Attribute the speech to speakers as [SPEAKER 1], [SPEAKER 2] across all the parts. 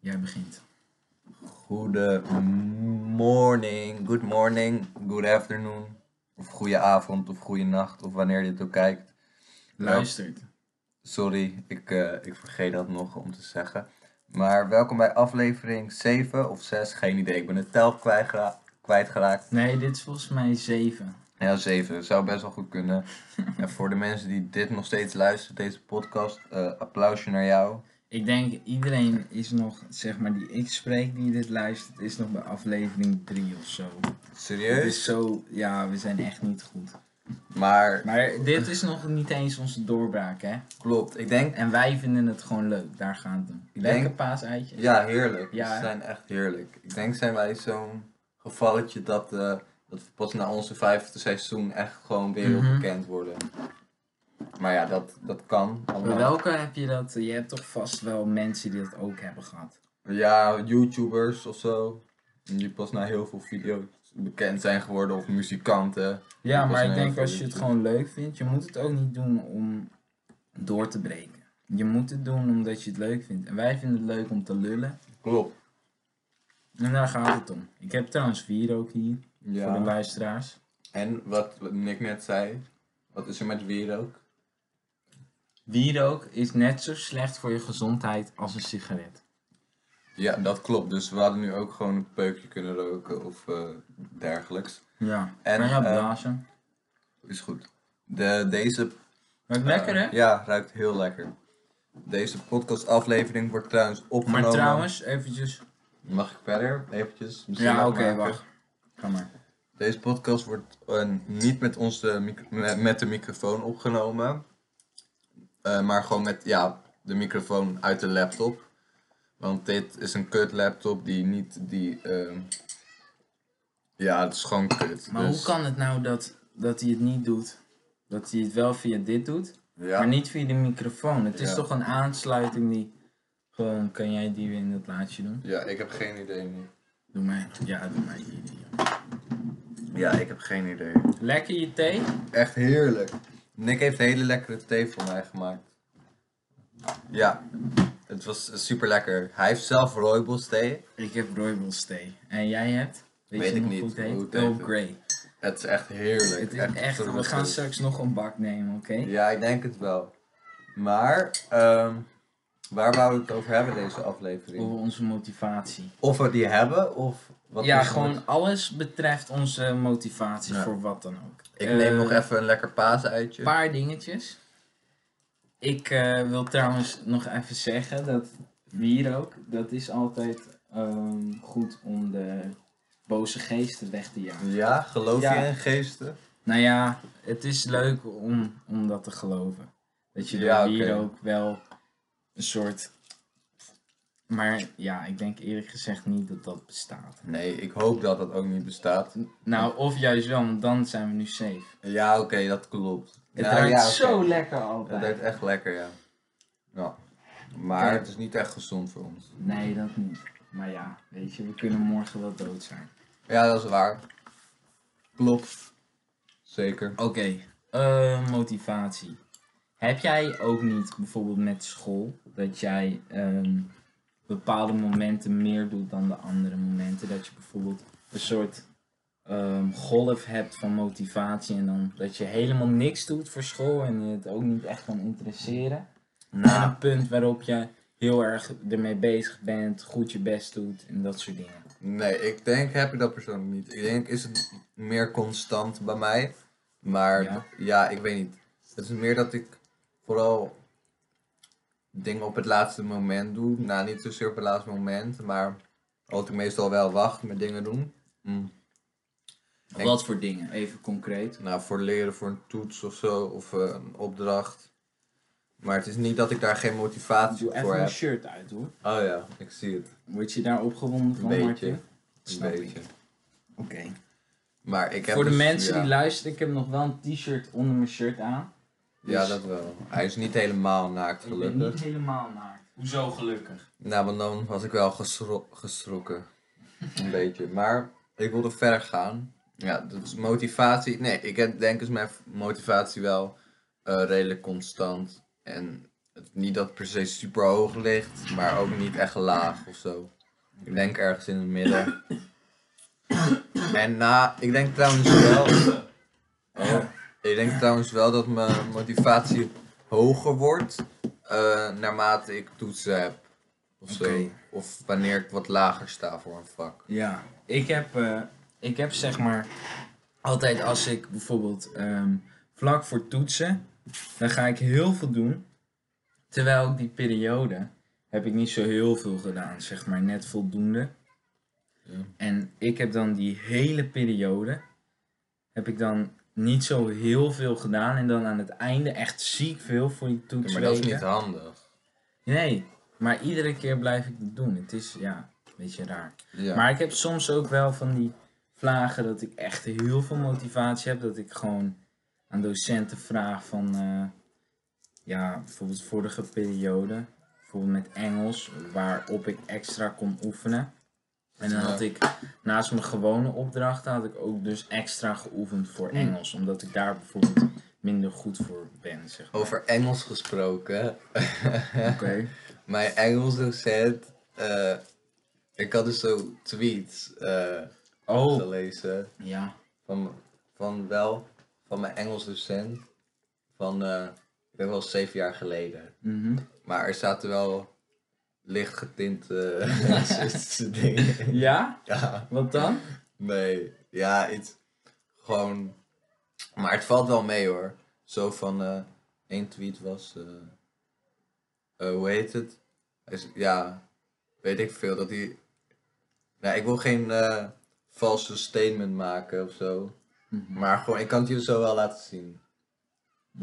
[SPEAKER 1] Jij begint.
[SPEAKER 2] Goedemorning, good morning, good afternoon. Of goede avond of goede nacht of wanneer je dit ook kijkt.
[SPEAKER 1] Luistert.
[SPEAKER 2] Sorry, ik, eh, ik vergeet dat nog om te zeggen. Maar welkom bij aflevering 7 of 6, geen idee. Ik ben de tel kwijtgera- kwijtgeraakt.
[SPEAKER 1] Nee, dit is volgens mij 7.
[SPEAKER 2] Ja, 7 zou best wel goed kunnen. en voor de mensen die dit nog steeds luisteren, deze podcast, eh, applausje naar jou.
[SPEAKER 1] Ik denk iedereen is nog, zeg maar, die ik spreek, die dit luistert, is nog bij aflevering 3 of zo. Het
[SPEAKER 2] Serieus?
[SPEAKER 1] is zo, ja, we zijn echt niet goed.
[SPEAKER 2] Maar
[SPEAKER 1] Maar dit is nog niet eens onze doorbraak, hè?
[SPEAKER 2] klopt, ik denk
[SPEAKER 1] En wij vinden het gewoon leuk, daar gaat het om.
[SPEAKER 2] Ik
[SPEAKER 1] Lekker
[SPEAKER 2] denk-
[SPEAKER 1] paasuitje.
[SPEAKER 2] Ja, heerlijk.
[SPEAKER 1] Ja,
[SPEAKER 2] Ze
[SPEAKER 1] hè?
[SPEAKER 2] zijn echt heerlijk. Ik denk zijn wij zo'n gevalletje dat, eh, dat we pas na onze vijfde seizoen echt gewoon
[SPEAKER 1] Mhm.
[SPEAKER 2] wereldbekend worden. Maar ja, dat, dat kan.
[SPEAKER 1] Bij
[SPEAKER 2] allemaal.
[SPEAKER 1] welke heb je dat? Je hebt toch vast wel mensen die dat ook hebben gehad.
[SPEAKER 2] Ja, YouTubers of zo. Die pas na heel veel video's bekend zijn geworden. Of muzikanten.
[SPEAKER 1] Ja,
[SPEAKER 2] Dat was
[SPEAKER 1] maar ik
[SPEAKER 2] een
[SPEAKER 1] denk
[SPEAKER 2] heel
[SPEAKER 1] als je het
[SPEAKER 2] goeie.
[SPEAKER 1] gewoon leuk vindt, je moet het ook niet doen om door te breken. Je moet het doen omdat je het leuk vindt. En wij vinden het leuk om te lullen.
[SPEAKER 2] Klopt.
[SPEAKER 1] En daar gaat het om. Ik heb trouwens vier ook hier voor de
[SPEAKER 2] Ja.
[SPEAKER 1] luisteraars.
[SPEAKER 2] En wat Nick net zei. Wat is er met weer ook?
[SPEAKER 1] Wierook is net zo slecht voor je gezondheid als een sigaret.
[SPEAKER 2] Ja, dat klopt. Dus we hadden nu ook gewoon een peukje kunnen roken of eh, dergelijks.
[SPEAKER 1] Ja. En
[SPEAKER 2] En,
[SPEAKER 1] kan je
[SPEAKER 2] eh,
[SPEAKER 1] blazen.
[SPEAKER 2] Is goed. De, deze
[SPEAKER 1] Maar het lekker hè?
[SPEAKER 2] Eh, ja, ruikt heel lekker. Deze podcastaflevering wordt trouwens
[SPEAKER 1] maar
[SPEAKER 2] opgenomen.
[SPEAKER 1] trouwens, eventjes.
[SPEAKER 2] Mag ik verder? Eventjes. misschien
[SPEAKER 1] Ja,
[SPEAKER 2] nog
[SPEAKER 1] oké,
[SPEAKER 2] maken?
[SPEAKER 1] wacht. Ga maar.
[SPEAKER 2] Deze podcast wordt eh, niet met, onze mic- me- met de microfoon opgenomen. Eh, maar gewoon met ja, de microfoon uit de laptop. Want dit is een kut laptop die niet. Die, eh, ja, het is gewoon kut.
[SPEAKER 1] Maar
[SPEAKER 2] dus-
[SPEAKER 1] hoe kan het nou dat, dat hij het niet doet? Dat hij het wel via dit doet?
[SPEAKER 2] Ja.
[SPEAKER 1] Maar niet via de microfoon. Het is
[SPEAKER 2] Ja.
[SPEAKER 1] toch een aansluiting die. Gewoon, kan jij die weer in het laadje doen?
[SPEAKER 2] ja, ik heb geen idee nu.
[SPEAKER 1] Doe mij. Ja, doe mij hier. die, joh.
[SPEAKER 2] Ja, ik heb geen idee.
[SPEAKER 1] Lekker je thee?
[SPEAKER 2] Echt heerlijk. Nick heeft hele lekkere thee voor mij gemaakt. Ja, het was super lekker. Hij heeft zelf rooibos thee.
[SPEAKER 1] Ik heb rooibos thee. En jij hebt?
[SPEAKER 2] Weet
[SPEAKER 1] je
[SPEAKER 2] ik
[SPEAKER 1] nog
[SPEAKER 2] niet
[SPEAKER 1] Hoe het heet?
[SPEAKER 2] hoe het
[SPEAKER 1] Earl
[SPEAKER 2] heet.
[SPEAKER 1] Grey.
[SPEAKER 2] Het is echt heerlijk.
[SPEAKER 1] Het is echt, we
[SPEAKER 2] super
[SPEAKER 1] gaan
[SPEAKER 2] goed.
[SPEAKER 1] straks nog een bak nemen, oké?
[SPEAKER 2] Ja, ik denk het wel. Maar, ehm, waar wouden we het over hebben deze aflevering?
[SPEAKER 1] Over onze motivatie.
[SPEAKER 2] Of we die hebben, of wat
[SPEAKER 1] ja,
[SPEAKER 2] is het?
[SPEAKER 1] gewoon alles betreft onze motivatie
[SPEAKER 2] Ja.
[SPEAKER 1] voor wat dan ook.
[SPEAKER 2] Ik neem
[SPEAKER 1] Eh,
[SPEAKER 2] nog even een lekker paasuitje.
[SPEAKER 1] Een paar dingetjes. Ik eh, wil trouwens nog even zeggen dat wier ook, dat is altijd ehm, goed om de boze geesten weg te jagen.
[SPEAKER 2] Ja, geloof
[SPEAKER 1] Ja.
[SPEAKER 2] je in geesten?
[SPEAKER 1] Nou ja, het is leuk om, om dat te geloven. Dat je door
[SPEAKER 2] Ja, oké.
[SPEAKER 1] wier ook wel een soort... Maar ja, ik denk eerlijk gezegd niet dat dat bestaat.
[SPEAKER 2] Nee, ik hoop dat dat ook niet bestaat.
[SPEAKER 1] Nou, of juist wel, want dan zijn we nu safe.
[SPEAKER 2] Ja, oké, dat klopt.
[SPEAKER 1] Het
[SPEAKER 2] Nou,
[SPEAKER 1] ruikt
[SPEAKER 2] ja, oké.
[SPEAKER 1] zo lekker
[SPEAKER 2] Het
[SPEAKER 1] altijd.
[SPEAKER 2] werkt echt lekker, ja. ja. Maar het is niet echt gezond voor ons.
[SPEAKER 1] Nee, dat niet. Maar ja, weet je, we kunnen morgen wel dood zijn.
[SPEAKER 2] Ja, dat is waar. Klopt. Zeker.
[SPEAKER 1] Oké, eh, motivatie. Heb jij ook niet bijvoorbeeld met school dat jij ehm, bepaalde momenten meer doet dan de andere momenten? Dat je bijvoorbeeld een soort ehm, golf hebt van motivatie en dan dat je helemaal niks doet voor school en je het ook niet echt kan interesseren? En een punt waarop je heel erg ermee bezig bent, goed je best doet en dat soort dingen.
[SPEAKER 2] Nee, ik denk heb ik dat persoonlijk niet. Ik denk is het meer constant bij mij. Maar
[SPEAKER 1] Ja.
[SPEAKER 2] ja, ik weet niet. Het is meer dat ik vooral dingen op het laatste moment doe. Nou, niet zozeer op het laatste moment, maar dat ik meestal wel wacht met dingen doen. Denk-
[SPEAKER 1] Wat voor dingen? Even concreet.
[SPEAKER 2] Nou, voor leren, voor een toets of zo, of eh, een opdracht. Maar het is niet dat ik daar geen motivatie
[SPEAKER 1] Doe even
[SPEAKER 2] voor
[SPEAKER 1] mijn
[SPEAKER 2] heb.
[SPEAKER 1] shirt uit hoor.
[SPEAKER 2] Oh ja, ik zie het.
[SPEAKER 1] Word je daar opgewonden
[SPEAKER 2] Een
[SPEAKER 1] van,
[SPEAKER 2] beetje.
[SPEAKER 1] Martin?
[SPEAKER 2] Een
[SPEAKER 1] Snap ik.
[SPEAKER 2] beetje.
[SPEAKER 1] Oké.
[SPEAKER 2] Maar ik heb
[SPEAKER 1] Voor de
[SPEAKER 2] dus-
[SPEAKER 1] mensen
[SPEAKER 2] ja,
[SPEAKER 1] die luisteren, ik heb nog wel een t-shirt onder mijn shirt aan. Dus
[SPEAKER 2] Ja, dat wel. Hij is niet helemaal naakt,
[SPEAKER 1] Ik ben niet
[SPEAKER 2] gelukkig.
[SPEAKER 1] helemaal naakt. Hoezo gelukkig?
[SPEAKER 2] Nou, want dan was ik wel geschro- geschrokken. een beetje. Maar ik wilde verder gaan. Ja, dus motivatie. Nee, ik heb, denk is mijn motivatie wel eh, redelijk constant. En eh, het- niet dat het per se super hoog ligt, maar ook niet echt laag of zo. Ik denk ergens in het midden. En na, ik denk trouwens wel. Oh, ik denk trouwens wel dat mijn motivatie hoger wordt eh, naarmate ik toetsen heb. Of zo.
[SPEAKER 1] Oké.
[SPEAKER 2] Of wanneer ik wat lager sta voor een vak.
[SPEAKER 1] Ja, ik heb, eh, ik heb zeg maar altijd als ik bijvoorbeeld ehm, vlak voor toetsen, dan ga ik heel veel doen. Terwijl ik die periode heb ik niet zo heel veel gedaan, zeg maar net voldoende.
[SPEAKER 2] Ja.
[SPEAKER 1] En ik heb dan die hele periode, heb ik dan niet zo heel veel gedaan. En dan aan het einde echt ziek veel voor die
[SPEAKER 2] Ja,
[SPEAKER 1] toets.
[SPEAKER 2] maar dat is niet handig.
[SPEAKER 1] Nee, maar iedere keer blijf ik dat doen. Het is ja, een beetje raar.
[SPEAKER 2] Ja.
[SPEAKER 1] Maar ik heb soms ook wel van die vlagen dat ik echt heel veel motivatie heb. Dat ik gewoon aan docenten vraag van, eh, ja, bijvoorbeeld vorige periode, bijvoorbeeld met Engels, waarop ik extra kon oefenen. En dan
[SPEAKER 2] Ja.
[SPEAKER 1] had ik naast mijn gewone opdrachten had ik ook dus extra geoefend voor
[SPEAKER 2] Hmm.
[SPEAKER 1] Engels. Omdat ik daar bijvoorbeeld minder goed voor ben, zeg maar.
[SPEAKER 2] Over Engels gesproken.
[SPEAKER 1] Oké.
[SPEAKER 2] Mijn Engels docent. eh, ik had dus zo tweets eh,
[SPEAKER 1] Oh,
[SPEAKER 2] gelezen.
[SPEAKER 1] ja.
[SPEAKER 2] Van, van wel, van mijn Engels docent. Van, eh, ik denk wel zeven jaar geleden.
[SPEAKER 1] Mhm.
[SPEAKER 2] Maar er zaten wel licht getinte racistische dingen in.
[SPEAKER 1] Ja?
[SPEAKER 2] Ja,
[SPEAKER 1] Wat dan?
[SPEAKER 2] nee. Ja, iets. Gewoon. Maar het valt wel mee hoor. Zo van, eh één tweet was. eh, eh, hoe heet het? Hij is- ja, weet ik veel. Dat hij. Nou, ik wil geen eh, valse statement maken of zo.
[SPEAKER 1] Mhm.
[SPEAKER 2] Maar gewoon, ik kan het je zo wel laten zien.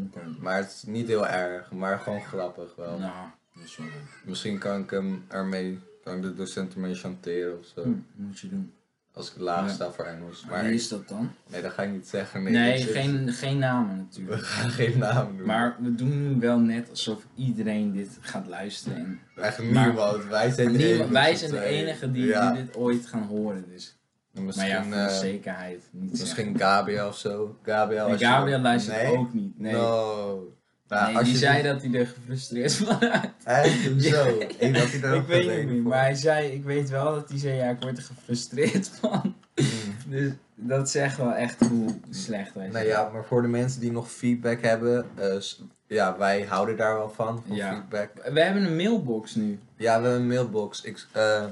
[SPEAKER 1] Oké.
[SPEAKER 2] Maar het is niet heel erg, maar gewoon grappig wel.
[SPEAKER 1] Nou, dat is wel leuk.
[SPEAKER 2] Misschien kan ik hem ermee, kan ik de docent ermee chanteren of zo.
[SPEAKER 1] moet je doen.
[SPEAKER 2] Als ik laag
[SPEAKER 1] Mhm. Ja.
[SPEAKER 2] sta voor Engels. Maar
[SPEAKER 1] Maar wie is dat dan?
[SPEAKER 2] nee, dat ga ik niet zeggen. Nee,
[SPEAKER 1] Nee,
[SPEAKER 2] dat is-
[SPEAKER 1] geen, geen namen
[SPEAKER 2] We
[SPEAKER 1] natuurlijk.
[SPEAKER 2] gaan geen naam noemen.
[SPEAKER 1] Maar we doen nu wel net alsof iedereen dit gaat luisteren. En
[SPEAKER 2] Echt
[SPEAKER 1] maar-
[SPEAKER 2] niemand. Wij zijn de
[SPEAKER 1] niemand-
[SPEAKER 2] enige.
[SPEAKER 1] wij zijn de enigen die,
[SPEAKER 2] eh, Ja.
[SPEAKER 1] die dit ooit gaan horen. Dus. Maar
[SPEAKER 2] Misschien,
[SPEAKER 1] ja, voor de
[SPEAKER 2] eh,
[SPEAKER 1] zekerheid niet zeggen.
[SPEAKER 2] misschien Gabriel of zo. Gabriel,
[SPEAKER 1] En
[SPEAKER 2] als je-
[SPEAKER 1] Gabriel luistert
[SPEAKER 2] Nee?
[SPEAKER 1] ook niet. Nee,
[SPEAKER 2] No. Nou,
[SPEAKER 1] nee
[SPEAKER 2] als
[SPEAKER 1] die
[SPEAKER 2] je
[SPEAKER 1] zei dat hij er gefrustreerd van raakt.
[SPEAKER 2] Echt, zo. Ik dacht hij daar
[SPEAKER 1] Ik
[SPEAKER 2] ook
[SPEAKER 1] weet het
[SPEAKER 2] reden
[SPEAKER 1] niet,
[SPEAKER 2] voor-
[SPEAKER 1] maar hij zei, ik weet wel dat hij zei, ja, ik word er gefrustreerd van.
[SPEAKER 2] Hmm.
[SPEAKER 1] Dus dat zegt wel echt hoe slecht wij zijn.
[SPEAKER 2] Nou ja, maar voor de mensen die nog feedback hebben, eh, s- ja, wij houden daar wel van, van
[SPEAKER 1] Ja.
[SPEAKER 2] feedback.
[SPEAKER 1] We hebben een mailbox nu.
[SPEAKER 2] Ja, we hebben een mailbox. Ik, eh,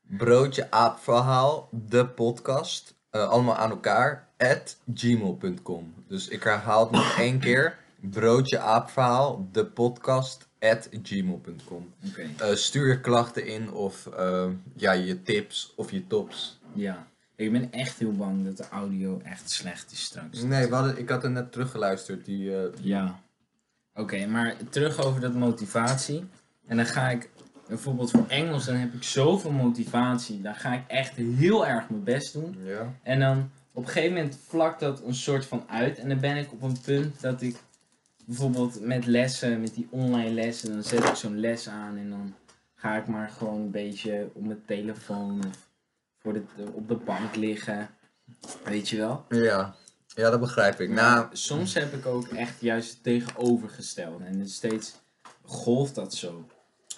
[SPEAKER 2] broodje aapverhaal, de podcast, eh, allemaal aan elkaar, at gmail.com. Dus ik herhaal het nog één keer, broodje aapverhaal, de podcast, at gmail.com.
[SPEAKER 1] Oké.
[SPEAKER 2] Eh, stuur je klachten in of eh, ja, je tips of je tops.
[SPEAKER 1] Ja, ik ben echt heel bang dat de audio echt slecht is straks.
[SPEAKER 2] Nee, we hadden, ik had er net teruggeluisterd, die... eh,
[SPEAKER 1] Ja. Oké, maar terug over dat motivatie. En dan ga ik bijvoorbeeld voor Engels, dan heb ik zoveel motivatie. Dan ga ik echt heel erg mijn best doen.
[SPEAKER 2] ja.
[SPEAKER 1] En dan op een gegeven moment vlakt dat een soort van uit. En dan ben ik op een punt dat ik bijvoorbeeld met lessen, met die online lessen, dan zet ik zo'n les aan en dan ga ik maar gewoon een beetje op mijn telefoon of voor de, op de bank liggen. Weet je wel?
[SPEAKER 2] Ja, ja dat begrijp ik.
[SPEAKER 1] Maar
[SPEAKER 2] Nou,
[SPEAKER 1] soms heb ik ook echt juist het tegenovergestelde. En dus steeds golft dat zo.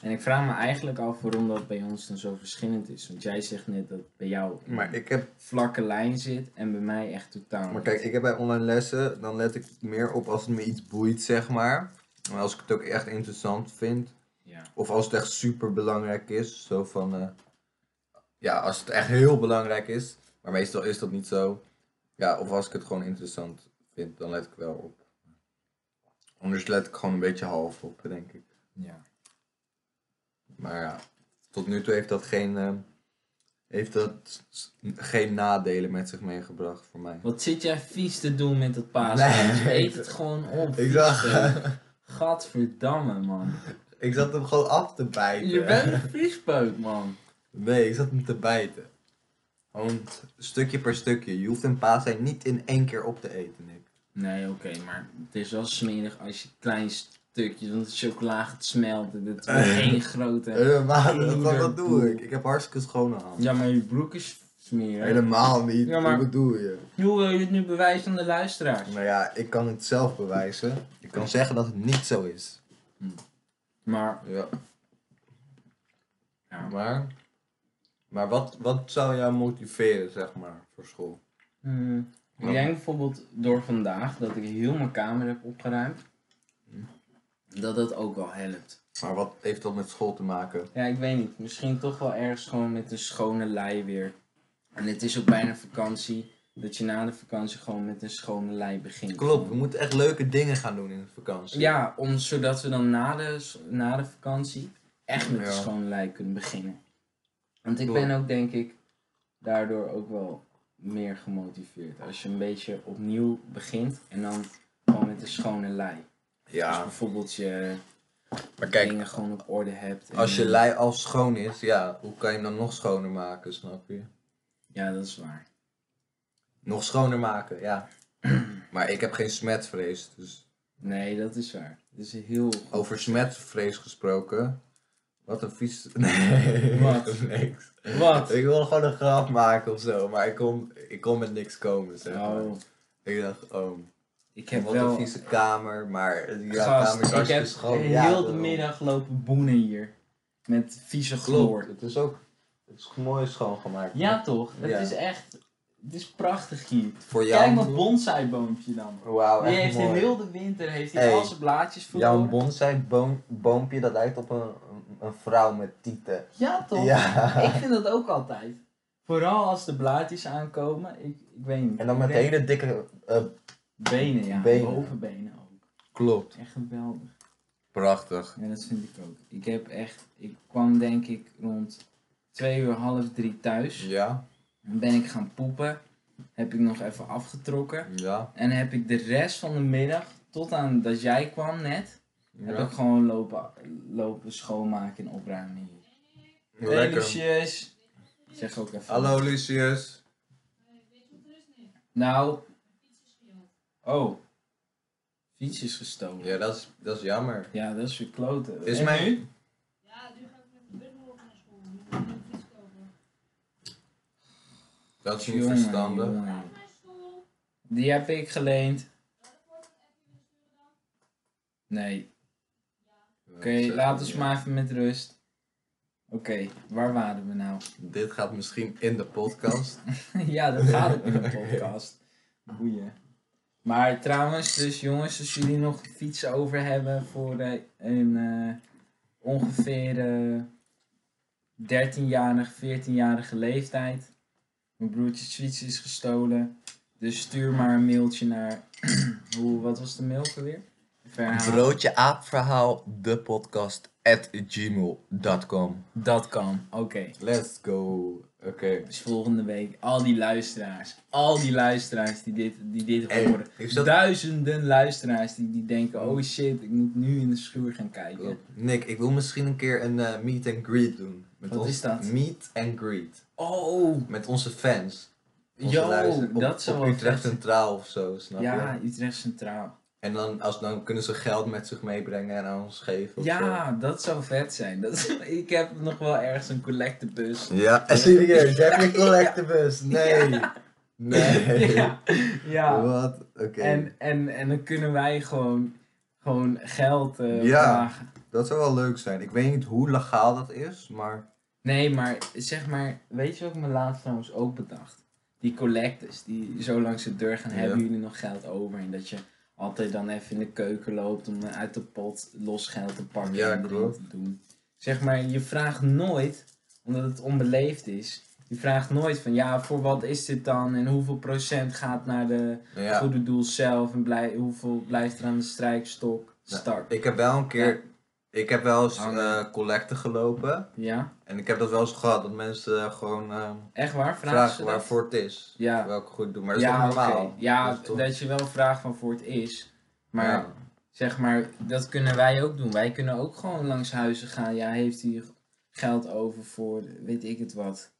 [SPEAKER 1] En ik vraag me eigenlijk af waarom dat bij ons dan zo verschillend is. Want jij zegt net dat bij jou een
[SPEAKER 2] maar ik heb,
[SPEAKER 1] vlakke lijn zit en bij mij echt totaal.
[SPEAKER 2] maar
[SPEAKER 1] niet.
[SPEAKER 2] kijk, ik heb bij online lessen, dan let ik meer op als het me iets boeit, zeg maar. En als ik het ook echt interessant vind.
[SPEAKER 1] Ja.
[SPEAKER 2] Of als het echt super belangrijk is. Zo van, eh, ja, als het echt heel belangrijk is. Maar meestal is dat niet zo. Ja, of als ik het gewoon interessant vind, dan let ik wel op. Anders let ik gewoon een beetje half op, denk ik.
[SPEAKER 1] ja.
[SPEAKER 2] Maar ja, tot nu toe heeft dat geen, eh, heeft dat s- geen nadelen met zich meegebracht voor mij.
[SPEAKER 1] Wat zit jij vies te doen met dat paas?
[SPEAKER 2] Nee.
[SPEAKER 1] Eet het gewoon op.
[SPEAKER 2] Ik zag,
[SPEAKER 1] vies, eh. Gadverdamme, man.
[SPEAKER 2] ik eh, zat hem gewoon af te bijten.
[SPEAKER 1] Je bent een viespeuk, man.
[SPEAKER 2] Nee, ik zat hem te bijten. Gewoon t- stukje per stukje. Je hoeft een paasei niet in één keer op te eten, Nick.
[SPEAKER 1] Nee, oké, maar het is wel smerig als je klein stukjes, want de chocola gaat smelten. Dit wordt
[SPEAKER 2] Eh.
[SPEAKER 1] één grote.
[SPEAKER 2] Helemaal
[SPEAKER 1] niet.
[SPEAKER 2] niet. Wat, wat doe ik? Ik heb hartstikke schone handen.
[SPEAKER 1] Ja, maar je broek is smerig.
[SPEAKER 2] Helemaal niet.
[SPEAKER 1] Ja, maar-
[SPEAKER 2] Wat bedoel je?
[SPEAKER 1] Hoe wil je het nu bewijzen aan de luisteraars?
[SPEAKER 2] Nou ja, ik kan het zelf bewijzen. Ik kan zeggen dat het niet zo is.
[SPEAKER 1] Maar
[SPEAKER 2] Ja.
[SPEAKER 1] Ja.
[SPEAKER 2] Maar, maar wat, wat zou jou motiveren, zeg maar, voor school?
[SPEAKER 1] mm, ik
[SPEAKER 2] Ja.
[SPEAKER 1] denk bijvoorbeeld door vandaag dat ik heel mijn kamer heb opgeruimd. Hmm. Dat dat ook wel helpt.
[SPEAKER 2] Maar wat heeft dat met school te maken?
[SPEAKER 1] Ja, ik weet niet. Misschien toch wel ergens gewoon met een schone lei weer. En het is ook bijna vakantie. Dat je na de vakantie gewoon met een schone lei begint.
[SPEAKER 2] Klopt, we moeten echt leuke dingen gaan doen in de vakantie.
[SPEAKER 1] Ja, om, zodat we dan na de, na de vakantie echt met
[SPEAKER 2] Ja.
[SPEAKER 1] een schone lei kunnen beginnen. Want ik
[SPEAKER 2] Klopt.
[SPEAKER 1] ben ook denk ik daardoor ook wel meer gemotiveerd. Als je een beetje opnieuw begint en dan gewoon met een schone lei. Dus
[SPEAKER 2] Ja,
[SPEAKER 1] bijvoorbeeld je
[SPEAKER 2] maar kijk,
[SPEAKER 1] dingen gewoon op orde hebt. en-
[SPEAKER 2] als je lei al schoon is, ja, hoe kan je hem dan nog schoner maken, snap je?
[SPEAKER 1] Ja, dat is waar.
[SPEAKER 2] Nog schoner maken, ja. maar ik heb geen smetvrees, dus
[SPEAKER 1] Nee, dat is waar. Dat is heel goed.
[SPEAKER 2] over smetvrees gesproken. Wat een vies... Nee,
[SPEAKER 1] Wat?
[SPEAKER 2] niks.
[SPEAKER 1] Wat?
[SPEAKER 2] Ik wil gewoon een grap maken of zo, maar ik kon, ik kon met niks komen, zeg maar.
[SPEAKER 1] Oh,
[SPEAKER 2] Ik dacht, oh,
[SPEAKER 1] ik heb
[SPEAKER 2] wat
[SPEAKER 1] wel...
[SPEAKER 2] een vieze kamer, maar ja,
[SPEAKER 1] Gast,
[SPEAKER 2] kamer is
[SPEAKER 1] ik heb
[SPEAKER 2] hartstikke schoon.
[SPEAKER 1] heel
[SPEAKER 2] Ja,
[SPEAKER 1] de
[SPEAKER 2] daarom.
[SPEAKER 1] middag lopen boenen hier. Met vieze
[SPEAKER 2] Klopt,
[SPEAKER 1] chloor.
[SPEAKER 2] het is ook het is mooi schoongemaakt.
[SPEAKER 1] Ja toch? Het
[SPEAKER 2] Ja.
[SPEAKER 1] is echt... Het is prachtig hier.
[SPEAKER 2] Voor jou.
[SPEAKER 1] Kijk dat bonsaiboompje dan.
[SPEAKER 2] Wauw,
[SPEAKER 1] Die
[SPEAKER 2] Oh, echt
[SPEAKER 1] heeft in
[SPEAKER 2] mooi.
[SPEAKER 1] heel de winter heeft hij
[SPEAKER 2] Hey,
[SPEAKER 1] al zijn blaadjes
[SPEAKER 2] Jouw
[SPEAKER 1] verloren.
[SPEAKER 2] bonsai boom, boompje, dat lijkt op een, een- een vrouw met tieten.
[SPEAKER 1] Ja toch?
[SPEAKER 2] Ja.
[SPEAKER 1] Ik vind dat ook altijd. Vooral als de blaadjes aankomen. Ik, ik weet niet.
[SPEAKER 2] En dan met
[SPEAKER 1] Ik denk-
[SPEAKER 2] hele dikke... eh,
[SPEAKER 1] Benen ja.
[SPEAKER 2] benen.
[SPEAKER 1] Bovenbenen ook.
[SPEAKER 2] Klopt.
[SPEAKER 1] Echt geweldig.
[SPEAKER 2] Prachtig.
[SPEAKER 1] Ja, dat vind ik ook. Ik heb echt, ik kwam denk ik rond twee uur, half drie thuis.
[SPEAKER 2] Ja,
[SPEAKER 1] Dan ben ik gaan poepen. Heb ik nog even afgetrokken.
[SPEAKER 2] ja.
[SPEAKER 1] En heb ik de rest van de middag, tot aan dat jij kwam net, heb
[SPEAKER 2] ja.
[SPEAKER 1] ik gewoon lopen, lopen schoonmaken en opruimen hier. Hey Lucius! Zeg ook even.
[SPEAKER 2] Hallo Lucius.
[SPEAKER 1] Nou. Oh. Fiets is gestolen. Ja,
[SPEAKER 2] Ja, dat is, dat is jammer.
[SPEAKER 1] dat is weer kloten.
[SPEAKER 2] Is
[SPEAKER 1] En
[SPEAKER 2] mijn-
[SPEAKER 1] nu?
[SPEAKER 3] Ja, nu ga ik met de bus morgen naar school. Nu moet ik een fiets kopen.
[SPEAKER 2] Dat is niet
[SPEAKER 1] Jongen,
[SPEAKER 2] verstandig.
[SPEAKER 1] jongen.
[SPEAKER 3] Naar school.
[SPEAKER 1] Die heb ik geleend. Nee. Oké, laat ons
[SPEAKER 2] Ja.
[SPEAKER 1] maar even met rust. Oké, waar waren we nou?
[SPEAKER 2] Dit gaat misschien in de podcast.
[SPEAKER 1] ja, dat gaat ook in een podcast. Boeien. Maar trouwens, dus jongens, als jullie nog fietsen over hebben voor eh, een eh, ongeveer eh, 13-jarig, 14-jarige leeftijd. Mijn broertjes fiets is gestolen. Dus stuur maar een mailtje naar. hoe, wat was de mail ook alweer? Verhaal.
[SPEAKER 2] Broodje aapverhaal, de podcast at gmail.com.
[SPEAKER 1] Dat kan. Oké.
[SPEAKER 2] Let's go. Oké.
[SPEAKER 1] Dus volgende week, al die luisteraars, al die luisteraars die dit, die dit
[SPEAKER 2] Hey,
[SPEAKER 1] horen.
[SPEAKER 2] is dat-
[SPEAKER 1] Duizenden luisteraars die, die denken, oh shit, ik moet nu in de schuur gaan kijken.
[SPEAKER 2] Oh, Nick, ik wil misschien een keer een eh, meet and greet doen. Met
[SPEAKER 1] Wat
[SPEAKER 2] ons-
[SPEAKER 1] is dat?
[SPEAKER 2] Meet and greet.
[SPEAKER 1] Oh,
[SPEAKER 2] Met onze fans. Onze
[SPEAKER 1] Yo,
[SPEAKER 2] luister- op,
[SPEAKER 1] dat zou
[SPEAKER 2] op
[SPEAKER 1] wel
[SPEAKER 2] Utrecht
[SPEAKER 1] vet zijn.
[SPEAKER 2] Centraal of zo, snap je?
[SPEAKER 1] ja, Utrecht Centraal.
[SPEAKER 2] En dan, als, dan kunnen ze geld met zich meebrengen en aan ons geven of
[SPEAKER 1] Ja, dat zou vet zijn. Dat is- ik heb nog wel ergens een collectebus.
[SPEAKER 2] zo. Ja, en serieus, heb je een collectebus? Nee. Nee.
[SPEAKER 1] Ja, ja.
[SPEAKER 2] Wat? Oké.
[SPEAKER 1] En, en, en dan kunnen wij gewoon, gewoon geld eh,
[SPEAKER 2] Ja.
[SPEAKER 1] vragen.
[SPEAKER 2] Dat zou wel leuk zijn. Ik weet niet hoe legaal dat is, maar...
[SPEAKER 1] Nee, maar zeg maar, weet je wat ik me laatst trouwens ook bedacht? Die collectors die zo langs de deur gaan,
[SPEAKER 2] Ja.
[SPEAKER 1] hebben jullie nog geld over? En dat je altijd dan even in de keuken loopt om uit de pot los geld te pakken
[SPEAKER 2] Ja,
[SPEAKER 1] en erin
[SPEAKER 2] klopt.
[SPEAKER 1] te doen. Zeg maar, je vraagt nooit, omdat het onbeleefd is, je vraagt nooit van ja, voor wat is dit dan en hoeveel procent gaat naar de
[SPEAKER 2] Nou ja,
[SPEAKER 1] goede doel zelf en blij, hoeveel blijft er aan de strijkstok?
[SPEAKER 2] Ja.
[SPEAKER 1] Start.
[SPEAKER 2] ik heb wel een keer... Ik heb wel eens
[SPEAKER 1] Hang.
[SPEAKER 2] eh collecten gelopen.
[SPEAKER 1] Ja,
[SPEAKER 2] En ik heb dat wel eens gehad, dat mensen eh, gewoon eh,
[SPEAKER 1] echt waar? Vragen,
[SPEAKER 2] vragen
[SPEAKER 1] ze dat?
[SPEAKER 2] waarvoor het is.
[SPEAKER 1] Ja.
[SPEAKER 2] Welke goed doen, maar dat is toch
[SPEAKER 1] oké.
[SPEAKER 2] normaal?
[SPEAKER 1] Ja,
[SPEAKER 2] Dat
[SPEAKER 1] dat,
[SPEAKER 2] is toch-
[SPEAKER 1] je wel vraagt van voor het is. Maar
[SPEAKER 2] Ja.
[SPEAKER 1] zeg maar, dat kunnen wij ook doen. Wij kunnen ook gewoon langs huizen gaan. Ja, heeft hij geld over voor weet ik het wat.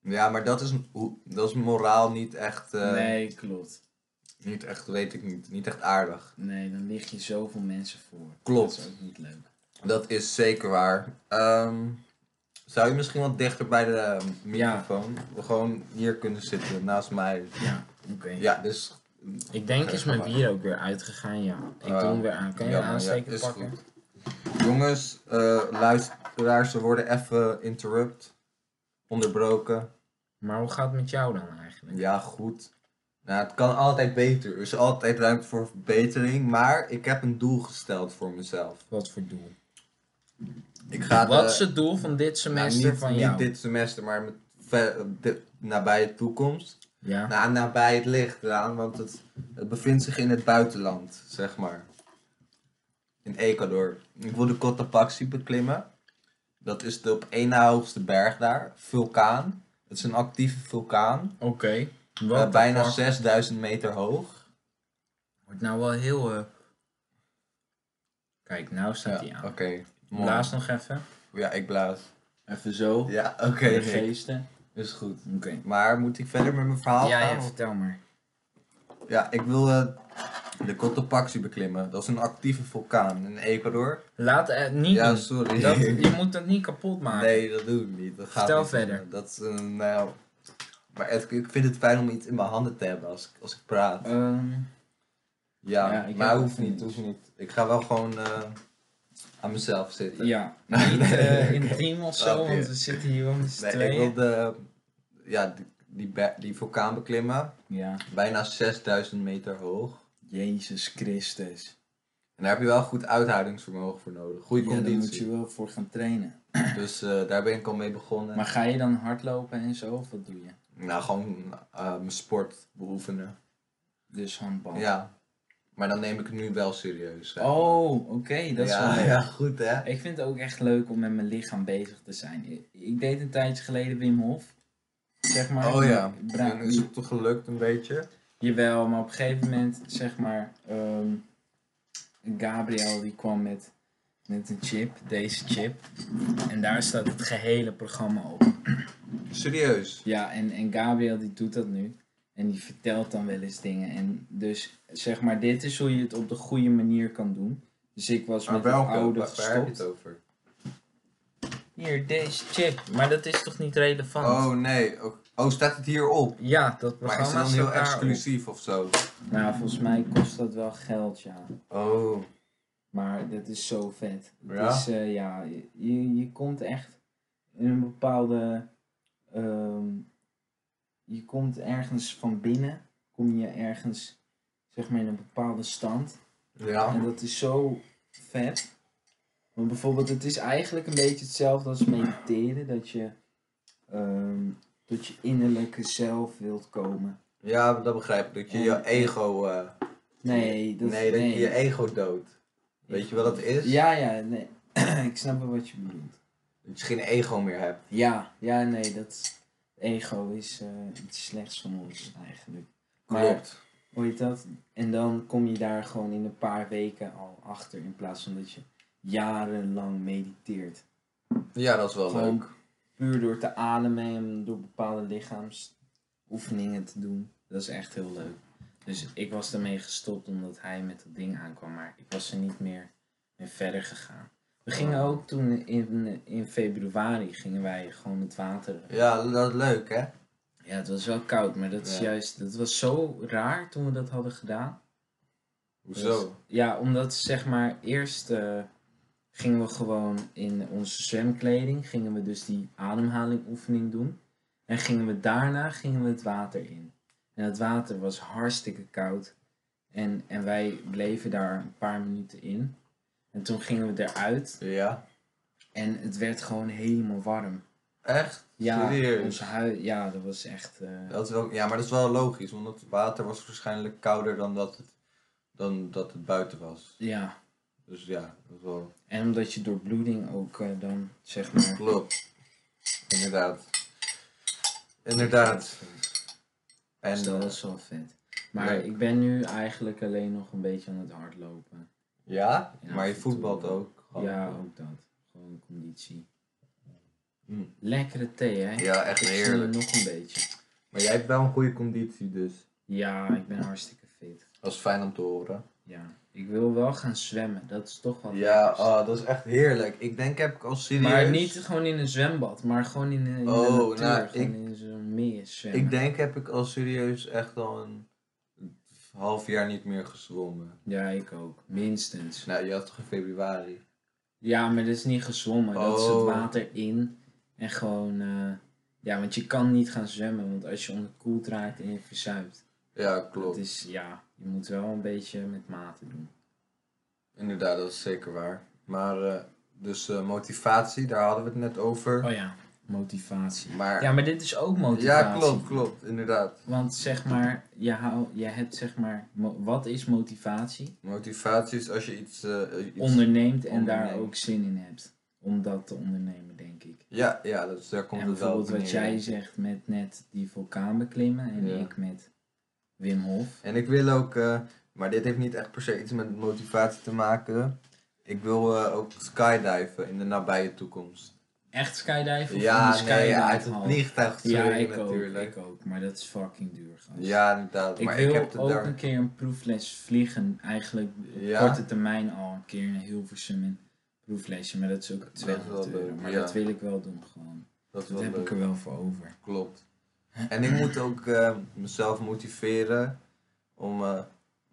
[SPEAKER 2] Ja, maar dat is, hoe- dat is moraal niet echt, eh,
[SPEAKER 1] nee, klopt.
[SPEAKER 2] niet echt, weet ik niet, niet echt aardig.
[SPEAKER 1] Nee, dan lig je zoveel mensen voor.
[SPEAKER 2] Klopt.
[SPEAKER 1] Dat is ook niet leuk.
[SPEAKER 2] Dat is zeker waar. Ehm, zou je misschien wat dichter bij de microfoon, gewoon hier kunnen zitten, naast mij?
[SPEAKER 1] Ja, oké.
[SPEAKER 2] Ja, dus
[SPEAKER 1] Ik denk is mijn bier ook weer uitgegaan, ja. Ik
[SPEAKER 2] Oh.
[SPEAKER 1] doe hem weer aan. Kan je
[SPEAKER 2] Ja,
[SPEAKER 1] een
[SPEAKER 2] maar ja,
[SPEAKER 1] aansteker
[SPEAKER 2] is
[SPEAKER 1] pakken?
[SPEAKER 2] goed. Jongens, eh, luisteraars, ze worden even interrupt. Onderbroken.
[SPEAKER 1] Maar hoe gaat het met jou dan eigenlijk?
[SPEAKER 2] Ja, goed. Nou, het kan altijd beter. Er is altijd ruimte voor verbetering. Maar ik heb een doel gesteld voor mezelf.
[SPEAKER 1] Wat voor doel?
[SPEAKER 2] Ik ga de-
[SPEAKER 1] Wat is het doel van dit semester
[SPEAKER 2] nou, niet,
[SPEAKER 1] van
[SPEAKER 2] niet
[SPEAKER 1] jou?
[SPEAKER 2] dit semester, maar met ver, de nabije toekomst.
[SPEAKER 1] Ja.
[SPEAKER 2] Nou, nabij het licht eraan, want het, het bevindt zich in het buitenland, zeg maar. In Ecuador. Ik wil de Cotopaxi beklimmen. Dat is de op één na hoogste berg daar. Vulkaan. Het is een actieve vulkaan.
[SPEAKER 1] Oké.
[SPEAKER 2] eh,
[SPEAKER 1] Wat
[SPEAKER 2] bijna
[SPEAKER 1] fuck?
[SPEAKER 2] 6000 meter hoog.
[SPEAKER 1] Wordt nou wel heel... eh, Kijk, nou staat hij
[SPEAKER 2] Ja,
[SPEAKER 1] aan.
[SPEAKER 2] Oké. mooi.
[SPEAKER 1] Blaas nog even.
[SPEAKER 2] Ja, ik blaas.
[SPEAKER 1] Even zo.
[SPEAKER 2] Ja, oké.
[SPEAKER 1] De
[SPEAKER 2] Rick.
[SPEAKER 1] geesten.
[SPEAKER 2] Is goed.
[SPEAKER 1] Oké.
[SPEAKER 2] Maar moet ik verder met mijn verhaal
[SPEAKER 1] Ja,
[SPEAKER 2] gaan?
[SPEAKER 1] ja,
[SPEAKER 2] of-
[SPEAKER 1] vertel maar.
[SPEAKER 2] Ja, ik wil eh, de Cotopaxi beklimmen. Dat is een actieve vulkaan in Ecuador.
[SPEAKER 1] Laat het niet
[SPEAKER 2] Ja,
[SPEAKER 1] doen.
[SPEAKER 2] sorry.
[SPEAKER 1] Mm. Dat, je moet dat niet kapot maken.
[SPEAKER 2] Nee, dat doe ik niet. Dat gaat
[SPEAKER 1] Vertel
[SPEAKER 2] niet
[SPEAKER 1] verder.
[SPEAKER 2] doen. Dat is een, nou, maar het- ik vind het fijn om iets in mijn handen te hebben als, ik- als ik praat.
[SPEAKER 1] Ehm,
[SPEAKER 2] ja,
[SPEAKER 1] ja, ik
[SPEAKER 2] maar
[SPEAKER 1] heb-
[SPEAKER 2] hoeft niet, hoeft niet. Ik ga wel gewoon eh, aan mezelf zitten.
[SPEAKER 1] ja, niet
[SPEAKER 2] Nee,
[SPEAKER 1] eh, in
[SPEAKER 2] oké.
[SPEAKER 1] het team of zo,
[SPEAKER 2] Snap je.
[SPEAKER 1] want we zitten hier wel met z'n
[SPEAKER 2] Nee, ik
[SPEAKER 1] tweeën.
[SPEAKER 2] wil de, ja, die, die, be- die vulkaan beklimmen.
[SPEAKER 1] Ja,
[SPEAKER 2] Bijna 6000 meter hoog.
[SPEAKER 1] Jezus Christus.
[SPEAKER 2] En daar heb je wel goed uithoudingsvermogen voor nodig. Goede
[SPEAKER 1] Ja, daar moet
[SPEAKER 2] conditie.
[SPEAKER 1] je wel voor gaan trainen.
[SPEAKER 2] Dus eh, daar ben ik al mee begonnen.
[SPEAKER 1] Maar ga je dan hardlopen en zo, of wat doe je?
[SPEAKER 2] Nou, gewoon eh, mijn sport beoefenen.
[SPEAKER 1] Dus handbal.
[SPEAKER 2] Ja. Maar dan neem ik het nu wel serieus. hè.
[SPEAKER 1] Oh, oké, dat is
[SPEAKER 2] ja,
[SPEAKER 1] wel leuk.
[SPEAKER 2] ja, goed hè.
[SPEAKER 1] Ik vind het ook echt leuk om met mijn lichaam bezig te zijn. Ik, ik deed een tijdje geleden Wim Hof. Zeg maar.
[SPEAKER 2] Oh ja.
[SPEAKER 1] Bra-
[SPEAKER 2] En is het toch gelukt een beetje?
[SPEAKER 1] Jawel, maar op een gegeven moment, zeg maar, ehm, Gabriel die kwam met, met een chip, deze chip. En daar staat het gehele programma op.
[SPEAKER 2] Serieus.
[SPEAKER 1] Ja, en, en Gabriel die doet dat nu. En die vertelt dan wel eens dingen. En dus, zeg maar, dit is hoe je het op de goede manier kan doen. Dus ik was
[SPEAKER 2] Maar
[SPEAKER 1] met het
[SPEAKER 2] welke?
[SPEAKER 1] oude
[SPEAKER 2] Waar- waar heb je het
[SPEAKER 1] gestopt.
[SPEAKER 2] over?
[SPEAKER 1] Hier, deze chip. Maar dat is toch niet relevant?
[SPEAKER 2] Oh nee. Oh, oh, staat het hier op?
[SPEAKER 1] Ja, dat
[SPEAKER 2] Maar is
[SPEAKER 1] programma
[SPEAKER 2] het dan
[SPEAKER 1] staat
[SPEAKER 2] heel
[SPEAKER 1] daarop.
[SPEAKER 2] exclusief of zo?
[SPEAKER 1] Nou, volgens mij kost dat wel geld, ja.
[SPEAKER 2] Oh.
[SPEAKER 1] Maar dat is zo vet. Het
[SPEAKER 2] Ja?
[SPEAKER 1] is, eh, ja, je- je, je komt echt in een bepaalde. ehm, je komt ergens van binnen, kom je ergens, zeg maar, in een bepaalde stand. En
[SPEAKER 2] Ja.
[SPEAKER 1] dat is zo vet. Want bijvoorbeeld, het is eigenlijk een beetje hetzelfde als mediteren: dat je ehm tot je innerlijke zelf wilt komen.
[SPEAKER 2] Ja, dat begrijp ik. Dat je
[SPEAKER 1] En-
[SPEAKER 2] je ego... eh,
[SPEAKER 1] Nee, dat,
[SPEAKER 2] nee, dat je je ego doodt. Weet je wat dat is?
[SPEAKER 1] Ja, ja, nee. Ik snap wel wat je bedoelt.
[SPEAKER 2] Dat je geen ego meer hebt.
[SPEAKER 1] Ja, ja, nee, dat ego is eh, iets slechts van ons eigenlijk. Maar-
[SPEAKER 2] Klopt.
[SPEAKER 1] Hoor je dat? En dan kom je daar gewoon in een paar weken al achter in plaats van dat je jarenlang mediteert.
[SPEAKER 2] Ja, dat is wel
[SPEAKER 1] Gewoon
[SPEAKER 2] leuk.
[SPEAKER 1] Puur door te ademen en door bepaalde lichaamsoefeningen te doen. Dat is echt heel leuk. Dus ik was daarmee gestopt omdat hij met dat ding aankwam, maar ik was er niet meer mee verder gegaan. We gingen ook toen in, in februari gingen wij gewoon het water eh,
[SPEAKER 2] Ja, dat is leuk hè.
[SPEAKER 1] Ja, het was wel koud, maar dat is
[SPEAKER 2] Ja.
[SPEAKER 1] juist, dat was zo raar toen we dat hadden gedaan. Dus- ja, omdat zeg maar eerst eh, gingen we gewoon in onze zwemkleding, gingen we dus die ademhalingoefening doen. En gingen we daarna gingen we het water in. En het water was hartstikke koud. En, en wij bleven daar een paar minuten in. En toen gingen we eruit
[SPEAKER 2] Dus, Ja.
[SPEAKER 1] en het werd gewoon helemaal warm.
[SPEAKER 2] Echt?
[SPEAKER 1] Ja,
[SPEAKER 2] Serieus?
[SPEAKER 1] onze huid, ja, dat was echt... eh,
[SPEAKER 2] Dat is wel, ja, maar dat is wel logisch, want het water was waarschijnlijk kouder dan dat het, dan dat het buiten was.
[SPEAKER 1] ja.
[SPEAKER 2] Dus ja, dat is wel...
[SPEAKER 1] En omdat je door bloeding ook eh, dan, zeg maar...
[SPEAKER 2] Klopt. Inderdaad. Inderdaad. En
[SPEAKER 1] En dat
[SPEAKER 2] eh,
[SPEAKER 1] is wel vet. Maar
[SPEAKER 2] leuk.
[SPEAKER 1] ik ben nu eigenlijk alleen nog een beetje aan het hardlopen.
[SPEAKER 2] ja,
[SPEAKER 1] Ja,
[SPEAKER 2] maar je
[SPEAKER 1] af en toe
[SPEAKER 2] voetbalt
[SPEAKER 1] wel.
[SPEAKER 2] ook. gewoon.
[SPEAKER 1] ja, ook dat. Gewoon conditie.
[SPEAKER 2] Mm.
[SPEAKER 1] Lekkere thee, hè?
[SPEAKER 2] Ja, echt
[SPEAKER 1] Ik zie
[SPEAKER 2] heerlijk.
[SPEAKER 1] nog een beetje.
[SPEAKER 2] Maar jij hebt wel een goede conditie, dus
[SPEAKER 1] Ja, ik ben hartstikke fit.
[SPEAKER 2] dat is fijn om te horen.
[SPEAKER 1] Ja. Ik wil wel gaan zwemmen. Dat is toch wat
[SPEAKER 2] Ja,
[SPEAKER 1] lekkers.
[SPEAKER 2] oh, dat is echt heerlijk. Ik denk heb ik al serieus...
[SPEAKER 1] maar niet gewoon in een zwembad, maar gewoon in, een- in
[SPEAKER 2] Oh,
[SPEAKER 1] de natuur.
[SPEAKER 2] nou,
[SPEAKER 1] gewoon
[SPEAKER 2] ik-
[SPEAKER 1] in zo'n meer zwemmen.
[SPEAKER 2] Ik denk heb ik al serieus echt al een half jaar niet meer gezwommen.
[SPEAKER 1] Ja, ik ook. Minstens.
[SPEAKER 2] Nou, je had toch in februari?
[SPEAKER 1] Ja, maar dat is niet gezwommen. Dat is het
[SPEAKER 2] Oh.
[SPEAKER 1] water in. En gewoon... eh, ja, want je kan niet gaan zwemmen. Want als je onderkoeld raakt en je verzuipt.
[SPEAKER 2] Ja,
[SPEAKER 1] Dat
[SPEAKER 2] klopt.
[SPEAKER 1] is, ja, je moet wel een beetje met mate doen.
[SPEAKER 2] Inderdaad, dat is zeker waar. Maar, eh, dus eh, motivatie, daar hadden we het net over.
[SPEAKER 1] Oh ja, motivatie.
[SPEAKER 2] Maar,
[SPEAKER 1] Ja,
[SPEAKER 2] ja,
[SPEAKER 1] maar dit is ook motivatie.
[SPEAKER 2] klopt, klopt, inderdaad.
[SPEAKER 1] Want zeg maar, je, hou, je hebt zeg maar... mo- wat is motivatie?
[SPEAKER 2] Motivatie is als je iets... eh, iets-
[SPEAKER 1] onderneemt en daar
[SPEAKER 2] onderneemt.
[SPEAKER 1] ook zin in hebt. Om dat te ondernemen, denk ik.
[SPEAKER 2] Ja, ja dus daar komt
[SPEAKER 1] en
[SPEAKER 2] het wel op
[SPEAKER 1] bijvoorbeeld wat
[SPEAKER 2] neer.
[SPEAKER 1] jij zegt met net die vulkaan beklimmen en
[SPEAKER 2] Ja.
[SPEAKER 1] ik met Wim Hof.
[SPEAKER 2] En ik wil ook, eh, maar dit heeft niet echt per se iets met motivatie te maken. Ik wil eh, ook skydiven in de nabije toekomst.
[SPEAKER 1] Echt skydiven of
[SPEAKER 2] ja,
[SPEAKER 1] gewoon skydive
[SPEAKER 2] nee, uit het
[SPEAKER 1] hal?
[SPEAKER 2] vliegtuig
[SPEAKER 1] Ja,
[SPEAKER 2] springen
[SPEAKER 1] ik ook,
[SPEAKER 2] natuurlijk.
[SPEAKER 1] ik ook. Maar dat is fucking duur, gast.
[SPEAKER 2] Ja, inderdaad.
[SPEAKER 1] ik
[SPEAKER 2] maar
[SPEAKER 1] wil
[SPEAKER 2] ik heb het
[SPEAKER 1] ook
[SPEAKER 2] daar.
[SPEAKER 1] een keer een proefles vliegen. Eigenlijk op
[SPEAKER 2] Ja?
[SPEAKER 1] korte termijn al een keer naar Hilversum een proeflesje. Maar dat is ook
[SPEAKER 2] is wel
[SPEAKER 1] 200
[SPEAKER 2] leuk,
[SPEAKER 1] euro. Maar
[SPEAKER 2] ja.
[SPEAKER 1] dat wil ik wel doen gewoon.
[SPEAKER 2] Dat is
[SPEAKER 1] Dat
[SPEAKER 2] wel
[SPEAKER 1] heb ik
[SPEAKER 2] leuk.
[SPEAKER 1] er wel voor over.
[SPEAKER 2] Klopt. En ik moet ook eh, mezelf motiveren om, eh,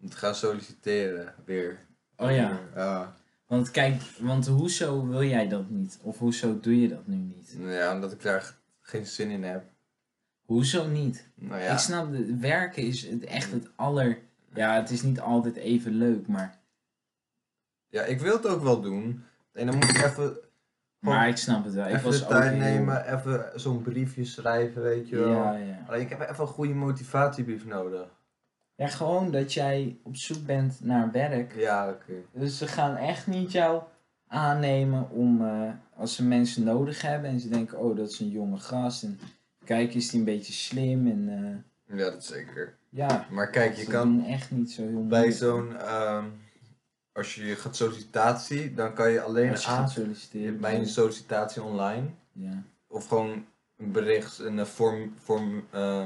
[SPEAKER 2] om te gaan solliciteren weer.
[SPEAKER 1] Oh ja,
[SPEAKER 2] Ja.
[SPEAKER 1] want kijk, want hoezo wil jij dat niet? Of hoezo doe je dat nu niet?
[SPEAKER 2] Ja, omdat ik daar geen zin in heb.
[SPEAKER 1] Hoezo niet?
[SPEAKER 2] Nou ja. Mm.
[SPEAKER 1] Ik snap, het werken is het echt het aller... Ja, het is niet altijd even leuk, maar,
[SPEAKER 2] ja, ik wil het ook wel doen. En dan moet ik even
[SPEAKER 1] maar ik snap het wel. Ik
[SPEAKER 2] even
[SPEAKER 1] was
[SPEAKER 2] de
[SPEAKER 1] ook
[SPEAKER 2] tijd
[SPEAKER 1] heel-
[SPEAKER 2] nemen, even zo'n briefje schrijven, weet je wel.
[SPEAKER 1] Ja, ja.
[SPEAKER 2] Alleen ik heb even een goede motivatiebrief nodig.
[SPEAKER 1] ja, gewoon dat jij op zoek bent naar werk.
[SPEAKER 2] Ja, oké.
[SPEAKER 1] Dus ze gaan echt niet jou aannemen om... eh, als ze mensen nodig hebben en ze denken... Oh, dat is een jonge gast. En kijk, is die een beetje slim? En eh,
[SPEAKER 2] Ja, dat zeker.
[SPEAKER 1] ja,
[SPEAKER 2] Maar kijk, je
[SPEAKER 1] ze
[SPEAKER 2] kan
[SPEAKER 1] doen echt niet zo heel
[SPEAKER 2] bij
[SPEAKER 1] moeilijk.
[SPEAKER 2] zo'n... ehm, als je gaat sollicitatie, dan kan je alleen
[SPEAKER 1] Als je
[SPEAKER 2] aan-
[SPEAKER 1] gaat solliciteren.
[SPEAKER 2] bij een sollicitatie online.
[SPEAKER 1] Ja.
[SPEAKER 2] Of gewoon een bericht, een eh, vorm... vorm eh,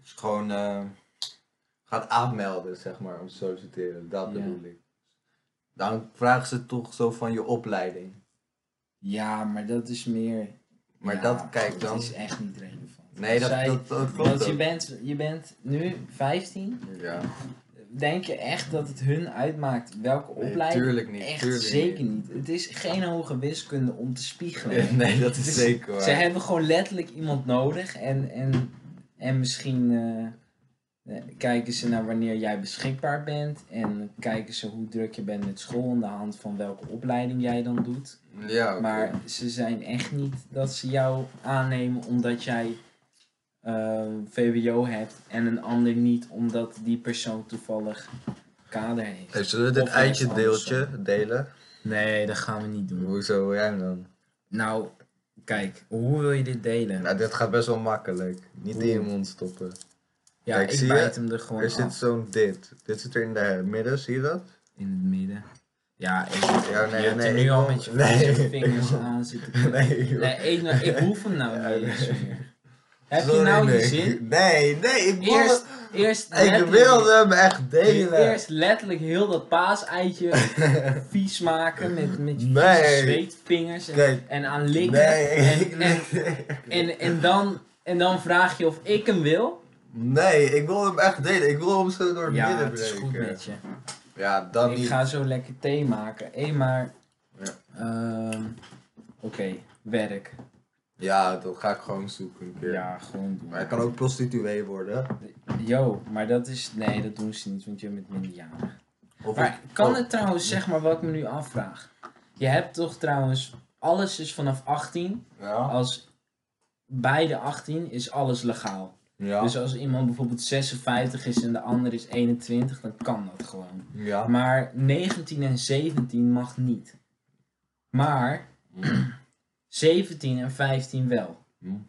[SPEAKER 2] dus gewoon eh, gaat aanmelden, zeg maar, om te solliciteren. Dat
[SPEAKER 1] Ja.
[SPEAKER 2] bedoel ik. Dan vragen ze toch zo van je opleiding.
[SPEAKER 1] ja, maar dat is meer...
[SPEAKER 2] Maar
[SPEAKER 1] Ja,
[SPEAKER 2] dat, kijk
[SPEAKER 1] Dat
[SPEAKER 2] dan...
[SPEAKER 1] is echt niet relevant.
[SPEAKER 2] Nee, dat,
[SPEAKER 1] Zij-
[SPEAKER 2] dat, dat klopt
[SPEAKER 1] Want je
[SPEAKER 2] ook.
[SPEAKER 1] bent, je bent nu 15.
[SPEAKER 2] Ja.
[SPEAKER 1] Denk je echt dat het hun uitmaakt welke
[SPEAKER 2] Nee,
[SPEAKER 1] opleiding?
[SPEAKER 2] tuurlijk niet.
[SPEAKER 1] echt
[SPEAKER 2] tuurlijk
[SPEAKER 1] zeker niet. Het is geen hoge wiskunde om te spiegelen.
[SPEAKER 2] Nee, nee, dat is
[SPEAKER 1] Dus
[SPEAKER 2] zeker waar.
[SPEAKER 1] Ze hebben gewoon letterlijk iemand nodig. En, en, en misschien eh, eh, kijken ze naar wanneer jij beschikbaar bent. En kijken ze hoe druk je bent met school. Aan de hand van welke opleiding jij dan doet.
[SPEAKER 2] Ja, oké.
[SPEAKER 1] Maar ze zijn echt niet dat ze jou aannemen omdat jij eh, VWO hebt en een ander niet omdat die persoon toevallig kader heeft.
[SPEAKER 2] Hey, zullen we dit
[SPEAKER 1] Of ergens
[SPEAKER 2] eitje deeltje
[SPEAKER 1] andersom.
[SPEAKER 2] delen?
[SPEAKER 1] Nee, dat gaan we niet doen.
[SPEAKER 2] Hoezo wil jij hem dan?
[SPEAKER 1] Nou, kijk, hoe wil je dit delen?
[SPEAKER 2] Nou, dit gaat best wel makkelijk. Niet in je
[SPEAKER 1] Oeh.
[SPEAKER 2] mond stoppen.
[SPEAKER 1] ja,
[SPEAKER 2] kijk,
[SPEAKER 1] ik
[SPEAKER 2] zie je?
[SPEAKER 1] bijt hem er gewoon
[SPEAKER 2] Er zit
[SPEAKER 1] af.
[SPEAKER 2] zo'n dit. Dit zit er in de midden, zie je dat?
[SPEAKER 1] in het midden. Ja, ik
[SPEAKER 2] Ja, nee,
[SPEAKER 1] je hebt
[SPEAKER 2] nee,
[SPEAKER 1] er
[SPEAKER 2] ik
[SPEAKER 1] nu al
[SPEAKER 2] wil-
[SPEAKER 1] met je
[SPEAKER 2] nee.
[SPEAKER 1] vingers aan zitten.
[SPEAKER 2] Nee, joh.
[SPEAKER 1] Nee, ik, nou, ik hoef hem nou
[SPEAKER 2] Ja,
[SPEAKER 1] niet
[SPEAKER 2] nee.
[SPEAKER 1] eens meer. Heb je
[SPEAKER 2] Sorry,
[SPEAKER 1] nou je
[SPEAKER 2] Nick.
[SPEAKER 1] zin?
[SPEAKER 2] Nee, nee, ik wil
[SPEAKER 1] Eerst, eerst
[SPEAKER 2] Ik
[SPEAKER 1] letterlijk-
[SPEAKER 2] wilde hem echt delen.
[SPEAKER 1] Eerst letterlijk heel dat paaseitje vies maken met, met je vieze
[SPEAKER 2] Nee.
[SPEAKER 1] zweetvingers en,
[SPEAKER 2] Kijk.
[SPEAKER 1] en aan likken.
[SPEAKER 2] Nee, ik,
[SPEAKER 1] en, en, en, en, dan, en dan vraag je of ik hem wil.
[SPEAKER 2] nee, ik wil hem echt delen. Ik wil hem zo door het
[SPEAKER 1] Ja,
[SPEAKER 2] midden
[SPEAKER 1] het is
[SPEAKER 2] breken.
[SPEAKER 1] goed met je.
[SPEAKER 2] Ja, dan
[SPEAKER 1] ik
[SPEAKER 2] niet.
[SPEAKER 1] ga zo lekker thee maken. Hé, maar...
[SPEAKER 2] Ja.
[SPEAKER 1] ehm, Oké, werk.
[SPEAKER 2] Ja, dat ga ik gewoon zoeken een keer.
[SPEAKER 1] Ja, gewoon doen.
[SPEAKER 2] Maar ik kan ook prostituee worden.
[SPEAKER 1] Yo, maar dat is... Nee, dat doen ze niet, want je bent minderjarig.
[SPEAKER 2] Of
[SPEAKER 1] Maar
[SPEAKER 2] ik-
[SPEAKER 1] kan
[SPEAKER 2] oh,
[SPEAKER 1] het trouwens, zeg maar, wat ik me nu afvraag. Je hebt toch trouwens, alles is vanaf 18.
[SPEAKER 2] Ja.
[SPEAKER 1] Als bij de 18 is alles legaal.
[SPEAKER 2] Ja.
[SPEAKER 1] Dus als iemand bijvoorbeeld 56 is en de ander is 21, dan kan dat gewoon.
[SPEAKER 2] ja.
[SPEAKER 1] Maar 19 en 17 mag niet. Maar 17 en 15 wel.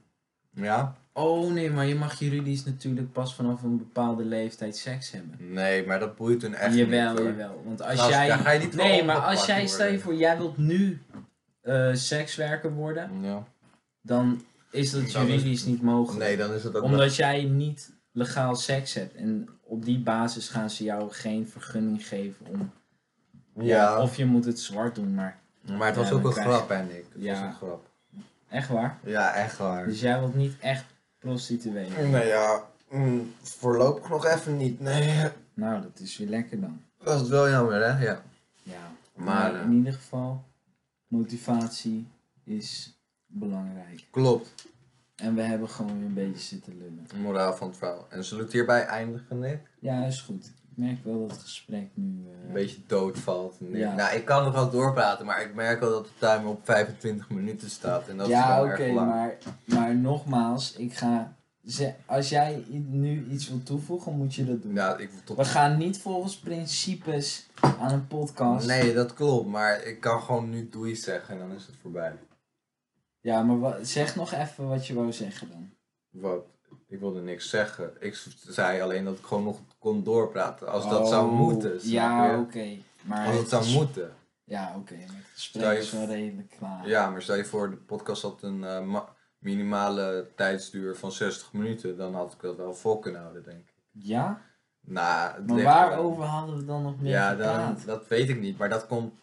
[SPEAKER 2] Ja.
[SPEAKER 1] Oh nee, maar je mag juridisch natuurlijk pas vanaf een bepaalde leeftijd seks hebben. Nou,
[SPEAKER 2] Nee, maar dat boeit hun echt
[SPEAKER 1] jawel,
[SPEAKER 2] niet. hoor.
[SPEAKER 1] jawel. Want als
[SPEAKER 2] Gast,
[SPEAKER 1] jij.
[SPEAKER 2] daar ga je niet voor
[SPEAKER 1] nee, maar als
[SPEAKER 2] opgepakt
[SPEAKER 1] jij, stel je
[SPEAKER 2] worden.
[SPEAKER 1] voor, jij wilt nu eh, sekswerker worden,
[SPEAKER 2] Ja.
[SPEAKER 1] dan is dat
[SPEAKER 2] Dan is-
[SPEAKER 1] juridisch niet mogelijk.
[SPEAKER 2] Nee, dan is het ook
[SPEAKER 1] Omdat jij niet legaal seks hebt. En op die basis gaan ze jou geen vergunning geven om.
[SPEAKER 2] nog- Ja,
[SPEAKER 1] Of je moet het zwart doen, maar
[SPEAKER 2] maar het was
[SPEAKER 1] Ja,
[SPEAKER 2] ook
[SPEAKER 1] dan
[SPEAKER 2] een
[SPEAKER 1] krijg je-
[SPEAKER 2] grap, hè, Nick. Het
[SPEAKER 1] Ja.
[SPEAKER 2] was een grap.
[SPEAKER 1] echt waar.
[SPEAKER 2] Ja, echt waar.
[SPEAKER 1] Dus jij wilt niet echt prostituee.
[SPEAKER 2] Nou ja, mm, voorlopig nog even niet. Nee,
[SPEAKER 1] Nou, dat is weer lekker dan.
[SPEAKER 2] dat is wel jammer, hè? Ja.
[SPEAKER 1] Ja.
[SPEAKER 2] Maar
[SPEAKER 1] Maar
[SPEAKER 2] eh,
[SPEAKER 1] in ieder geval, motivatie is belangrijk.
[SPEAKER 2] klopt.
[SPEAKER 1] En we hebben gewoon weer een beetje zitten lullen.
[SPEAKER 2] De moraal van het verhaal. En zullen we het hierbij eindigen, Nick?
[SPEAKER 1] Ja, is goed. Ik merk wel dat het gesprek nu... eh,
[SPEAKER 2] Een beetje doodvalt. Nick.
[SPEAKER 1] Ja.
[SPEAKER 2] Nou, ik kan nog wel doorpraten, maar ik merk wel dat de timer op 25 minuten staat. En dat is
[SPEAKER 1] ja,
[SPEAKER 2] wel
[SPEAKER 1] oké,
[SPEAKER 2] erg lang.
[SPEAKER 1] maar, maar nogmaals, ik ga... ze- Als jij i- nu iets wil toevoegen, moet je dat doen.
[SPEAKER 2] Ja, ik wil tot...
[SPEAKER 1] We gaan niet volgens principes aan een podcast.
[SPEAKER 2] Nee, dat klopt, maar ik kan gewoon nu doei zeggen en dan is het voorbij.
[SPEAKER 1] Ja, maar wa- zeg nog even wat je wou zeggen dan.
[SPEAKER 2] Wat? Ik wilde niks zeggen. Ik s- zei alleen dat ik gewoon nog kon doorpraten. Als dat
[SPEAKER 1] Oh,
[SPEAKER 2] zou moeten. snap
[SPEAKER 1] Ja,
[SPEAKER 2] je?
[SPEAKER 1] oké. Maar
[SPEAKER 2] Als het
[SPEAKER 1] het
[SPEAKER 2] zou
[SPEAKER 1] ges-
[SPEAKER 2] moeten.
[SPEAKER 1] Ja, oké. maar Het gesprek
[SPEAKER 2] Stel je
[SPEAKER 1] is wel redelijk klaar.
[SPEAKER 2] Ja, maar stel je voor, de podcast had een eh, ma- minimale tijdsduur van 60 minuten. Dan had ik dat wel vol kunnen houden, denk ik.
[SPEAKER 1] Ja?
[SPEAKER 2] Nou, het
[SPEAKER 1] Maar
[SPEAKER 2] ligt eraan.
[SPEAKER 1] waarover hadden we dan nog meer
[SPEAKER 2] Ja, dan,
[SPEAKER 1] gepraat?
[SPEAKER 2] dat weet ik niet. Maar dat komt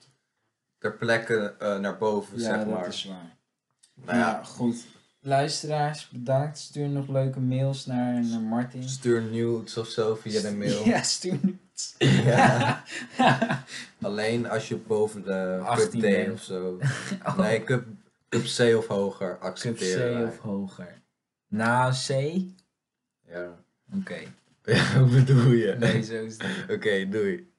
[SPEAKER 2] ter plekke eh, naar boven,
[SPEAKER 1] ja,
[SPEAKER 2] zeg
[SPEAKER 1] dat
[SPEAKER 2] maar.
[SPEAKER 1] is waar.
[SPEAKER 2] Nou
[SPEAKER 1] Nou
[SPEAKER 2] ja,
[SPEAKER 1] ja, goed. Luisteraars, bedankt. Stuur nog leuke mails naar, naar Martin.
[SPEAKER 2] stuur nudes of zo via de mail.
[SPEAKER 1] Ja, stuur nu.
[SPEAKER 2] Ja. Alleen als je boven de
[SPEAKER 1] 18
[SPEAKER 2] cup D
[SPEAKER 1] bent. Oh.
[SPEAKER 2] of zo. Nee, cup, cup C of hoger
[SPEAKER 1] Cup
[SPEAKER 2] accepteren
[SPEAKER 1] C
[SPEAKER 2] wij.
[SPEAKER 1] of hoger. Na C? Oké.
[SPEAKER 2] Ja. ja, hoe bedoel je?
[SPEAKER 1] Nee, zo is het. niet.
[SPEAKER 2] Oké, doei.